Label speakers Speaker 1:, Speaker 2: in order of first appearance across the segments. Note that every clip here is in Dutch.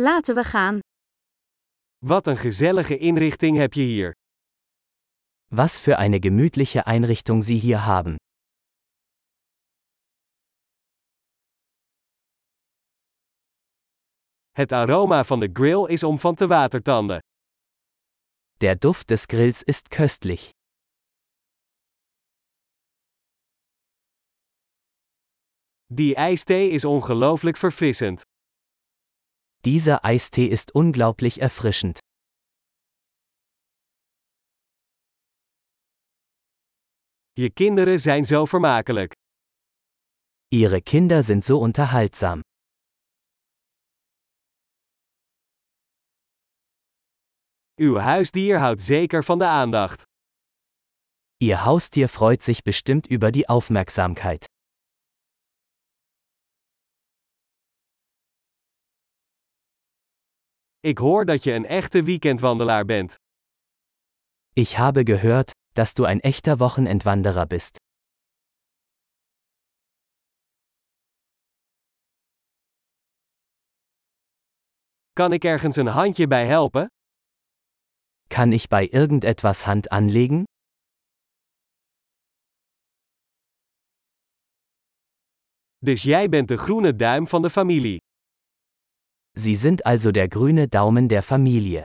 Speaker 1: Laten we gaan.
Speaker 2: Wat een gezellige inrichting heb je hier.
Speaker 3: Was für eine gemütliche Einrichtung Sie hier haben.
Speaker 2: Het aroma van de grill is om van te watertanden.
Speaker 3: Der Duft des Grills ist köstlich.
Speaker 2: Die ijsthee is ongelooflijk verfrissend.
Speaker 3: Dieser Eistee ist unglaublich erfrischend.
Speaker 2: Je kinderen zijn zo vermakelijk.
Speaker 3: Ihre Kinder sind so unterhaltsam.
Speaker 2: Uw huisdier houdt zeker van de aandacht.
Speaker 3: Ihr Haustier freut sich bestimmt über die Aufmerksamkeit.
Speaker 2: Ik hoor dat je een echte weekendwandelaar bent.
Speaker 3: Ich habe gehört, dass du ein echter Wochenendwanderer bist.
Speaker 2: Kan ik ergens een handje bij helpen?
Speaker 3: Kann ich bei irgendetwas Hand anlegen?
Speaker 2: Dus jij bent de groene duim van de familie.
Speaker 3: Sie sind also der grüne Daumen der Familie.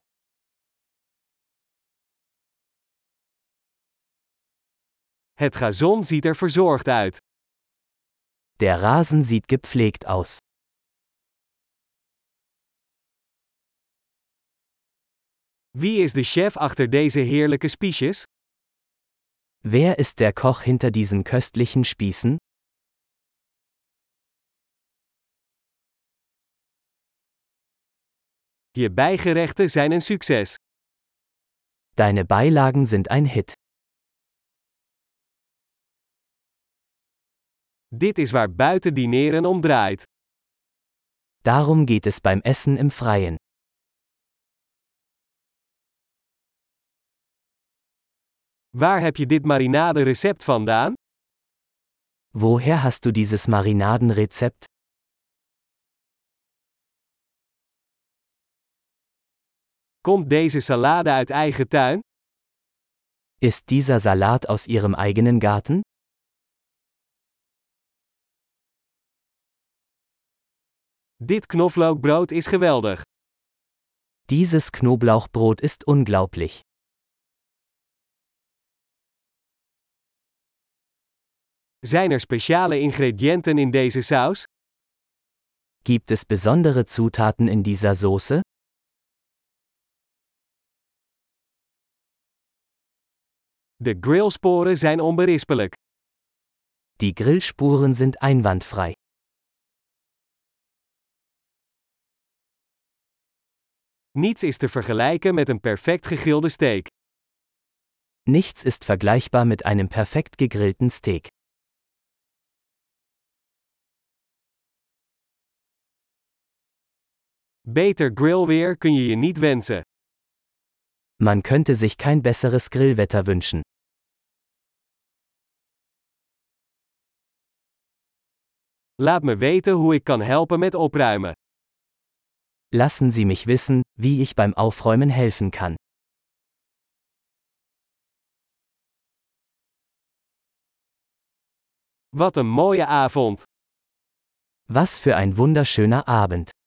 Speaker 2: Het gazon ziet er verzorgd uit.
Speaker 3: Der Rasen sieht gepflegt aus.
Speaker 2: Wie is de chef achter deze heerlijke spiesjes?
Speaker 3: Wer ist der Koch hinter diesen köstlichen Spießen?
Speaker 2: Je bijgerechten zijn een succes.
Speaker 3: Deine Beilagen sind ein Hit.
Speaker 2: Dit is waar buiten dineren om draait.
Speaker 3: Darum geht es beim Essen im Freien.
Speaker 2: Waar heb je dit marinade recept vandaan?
Speaker 3: Woher hast du dieses Marinadenrezept?
Speaker 2: Komt deze salade uit eigen tuin?
Speaker 3: Ist dieser Salat aus Ihrem eigenen Garten?
Speaker 2: Dit knoflookbrood is geweldig.
Speaker 3: Dieses Knoblauchbrot ist unglaublich.
Speaker 2: Zijn er speciale ingrediënten in deze saus?
Speaker 3: Gibt es besondere Zutaten in dieser Soße?
Speaker 2: De grillsporen zijn onberispelijk.
Speaker 3: Die Grillspuren sind einwandfrei.
Speaker 2: Niets is te vergelijken met een perfect gegrilde steak.
Speaker 3: Nichts ist vergleichbar mit einem perfekt gegrillten Steak.
Speaker 2: Beter grillweer kun je je niet wensen.
Speaker 3: Man könnte sich kein besseres Grillwetter wünschen.
Speaker 2: Laat me weten hoe ik kan helpen met opruimen.
Speaker 3: Lassen Sie mich wissen, wie ich beim Aufräumen helfen kann.
Speaker 2: Wat een mooie avond!
Speaker 3: Was für ein wunderschöner Abend.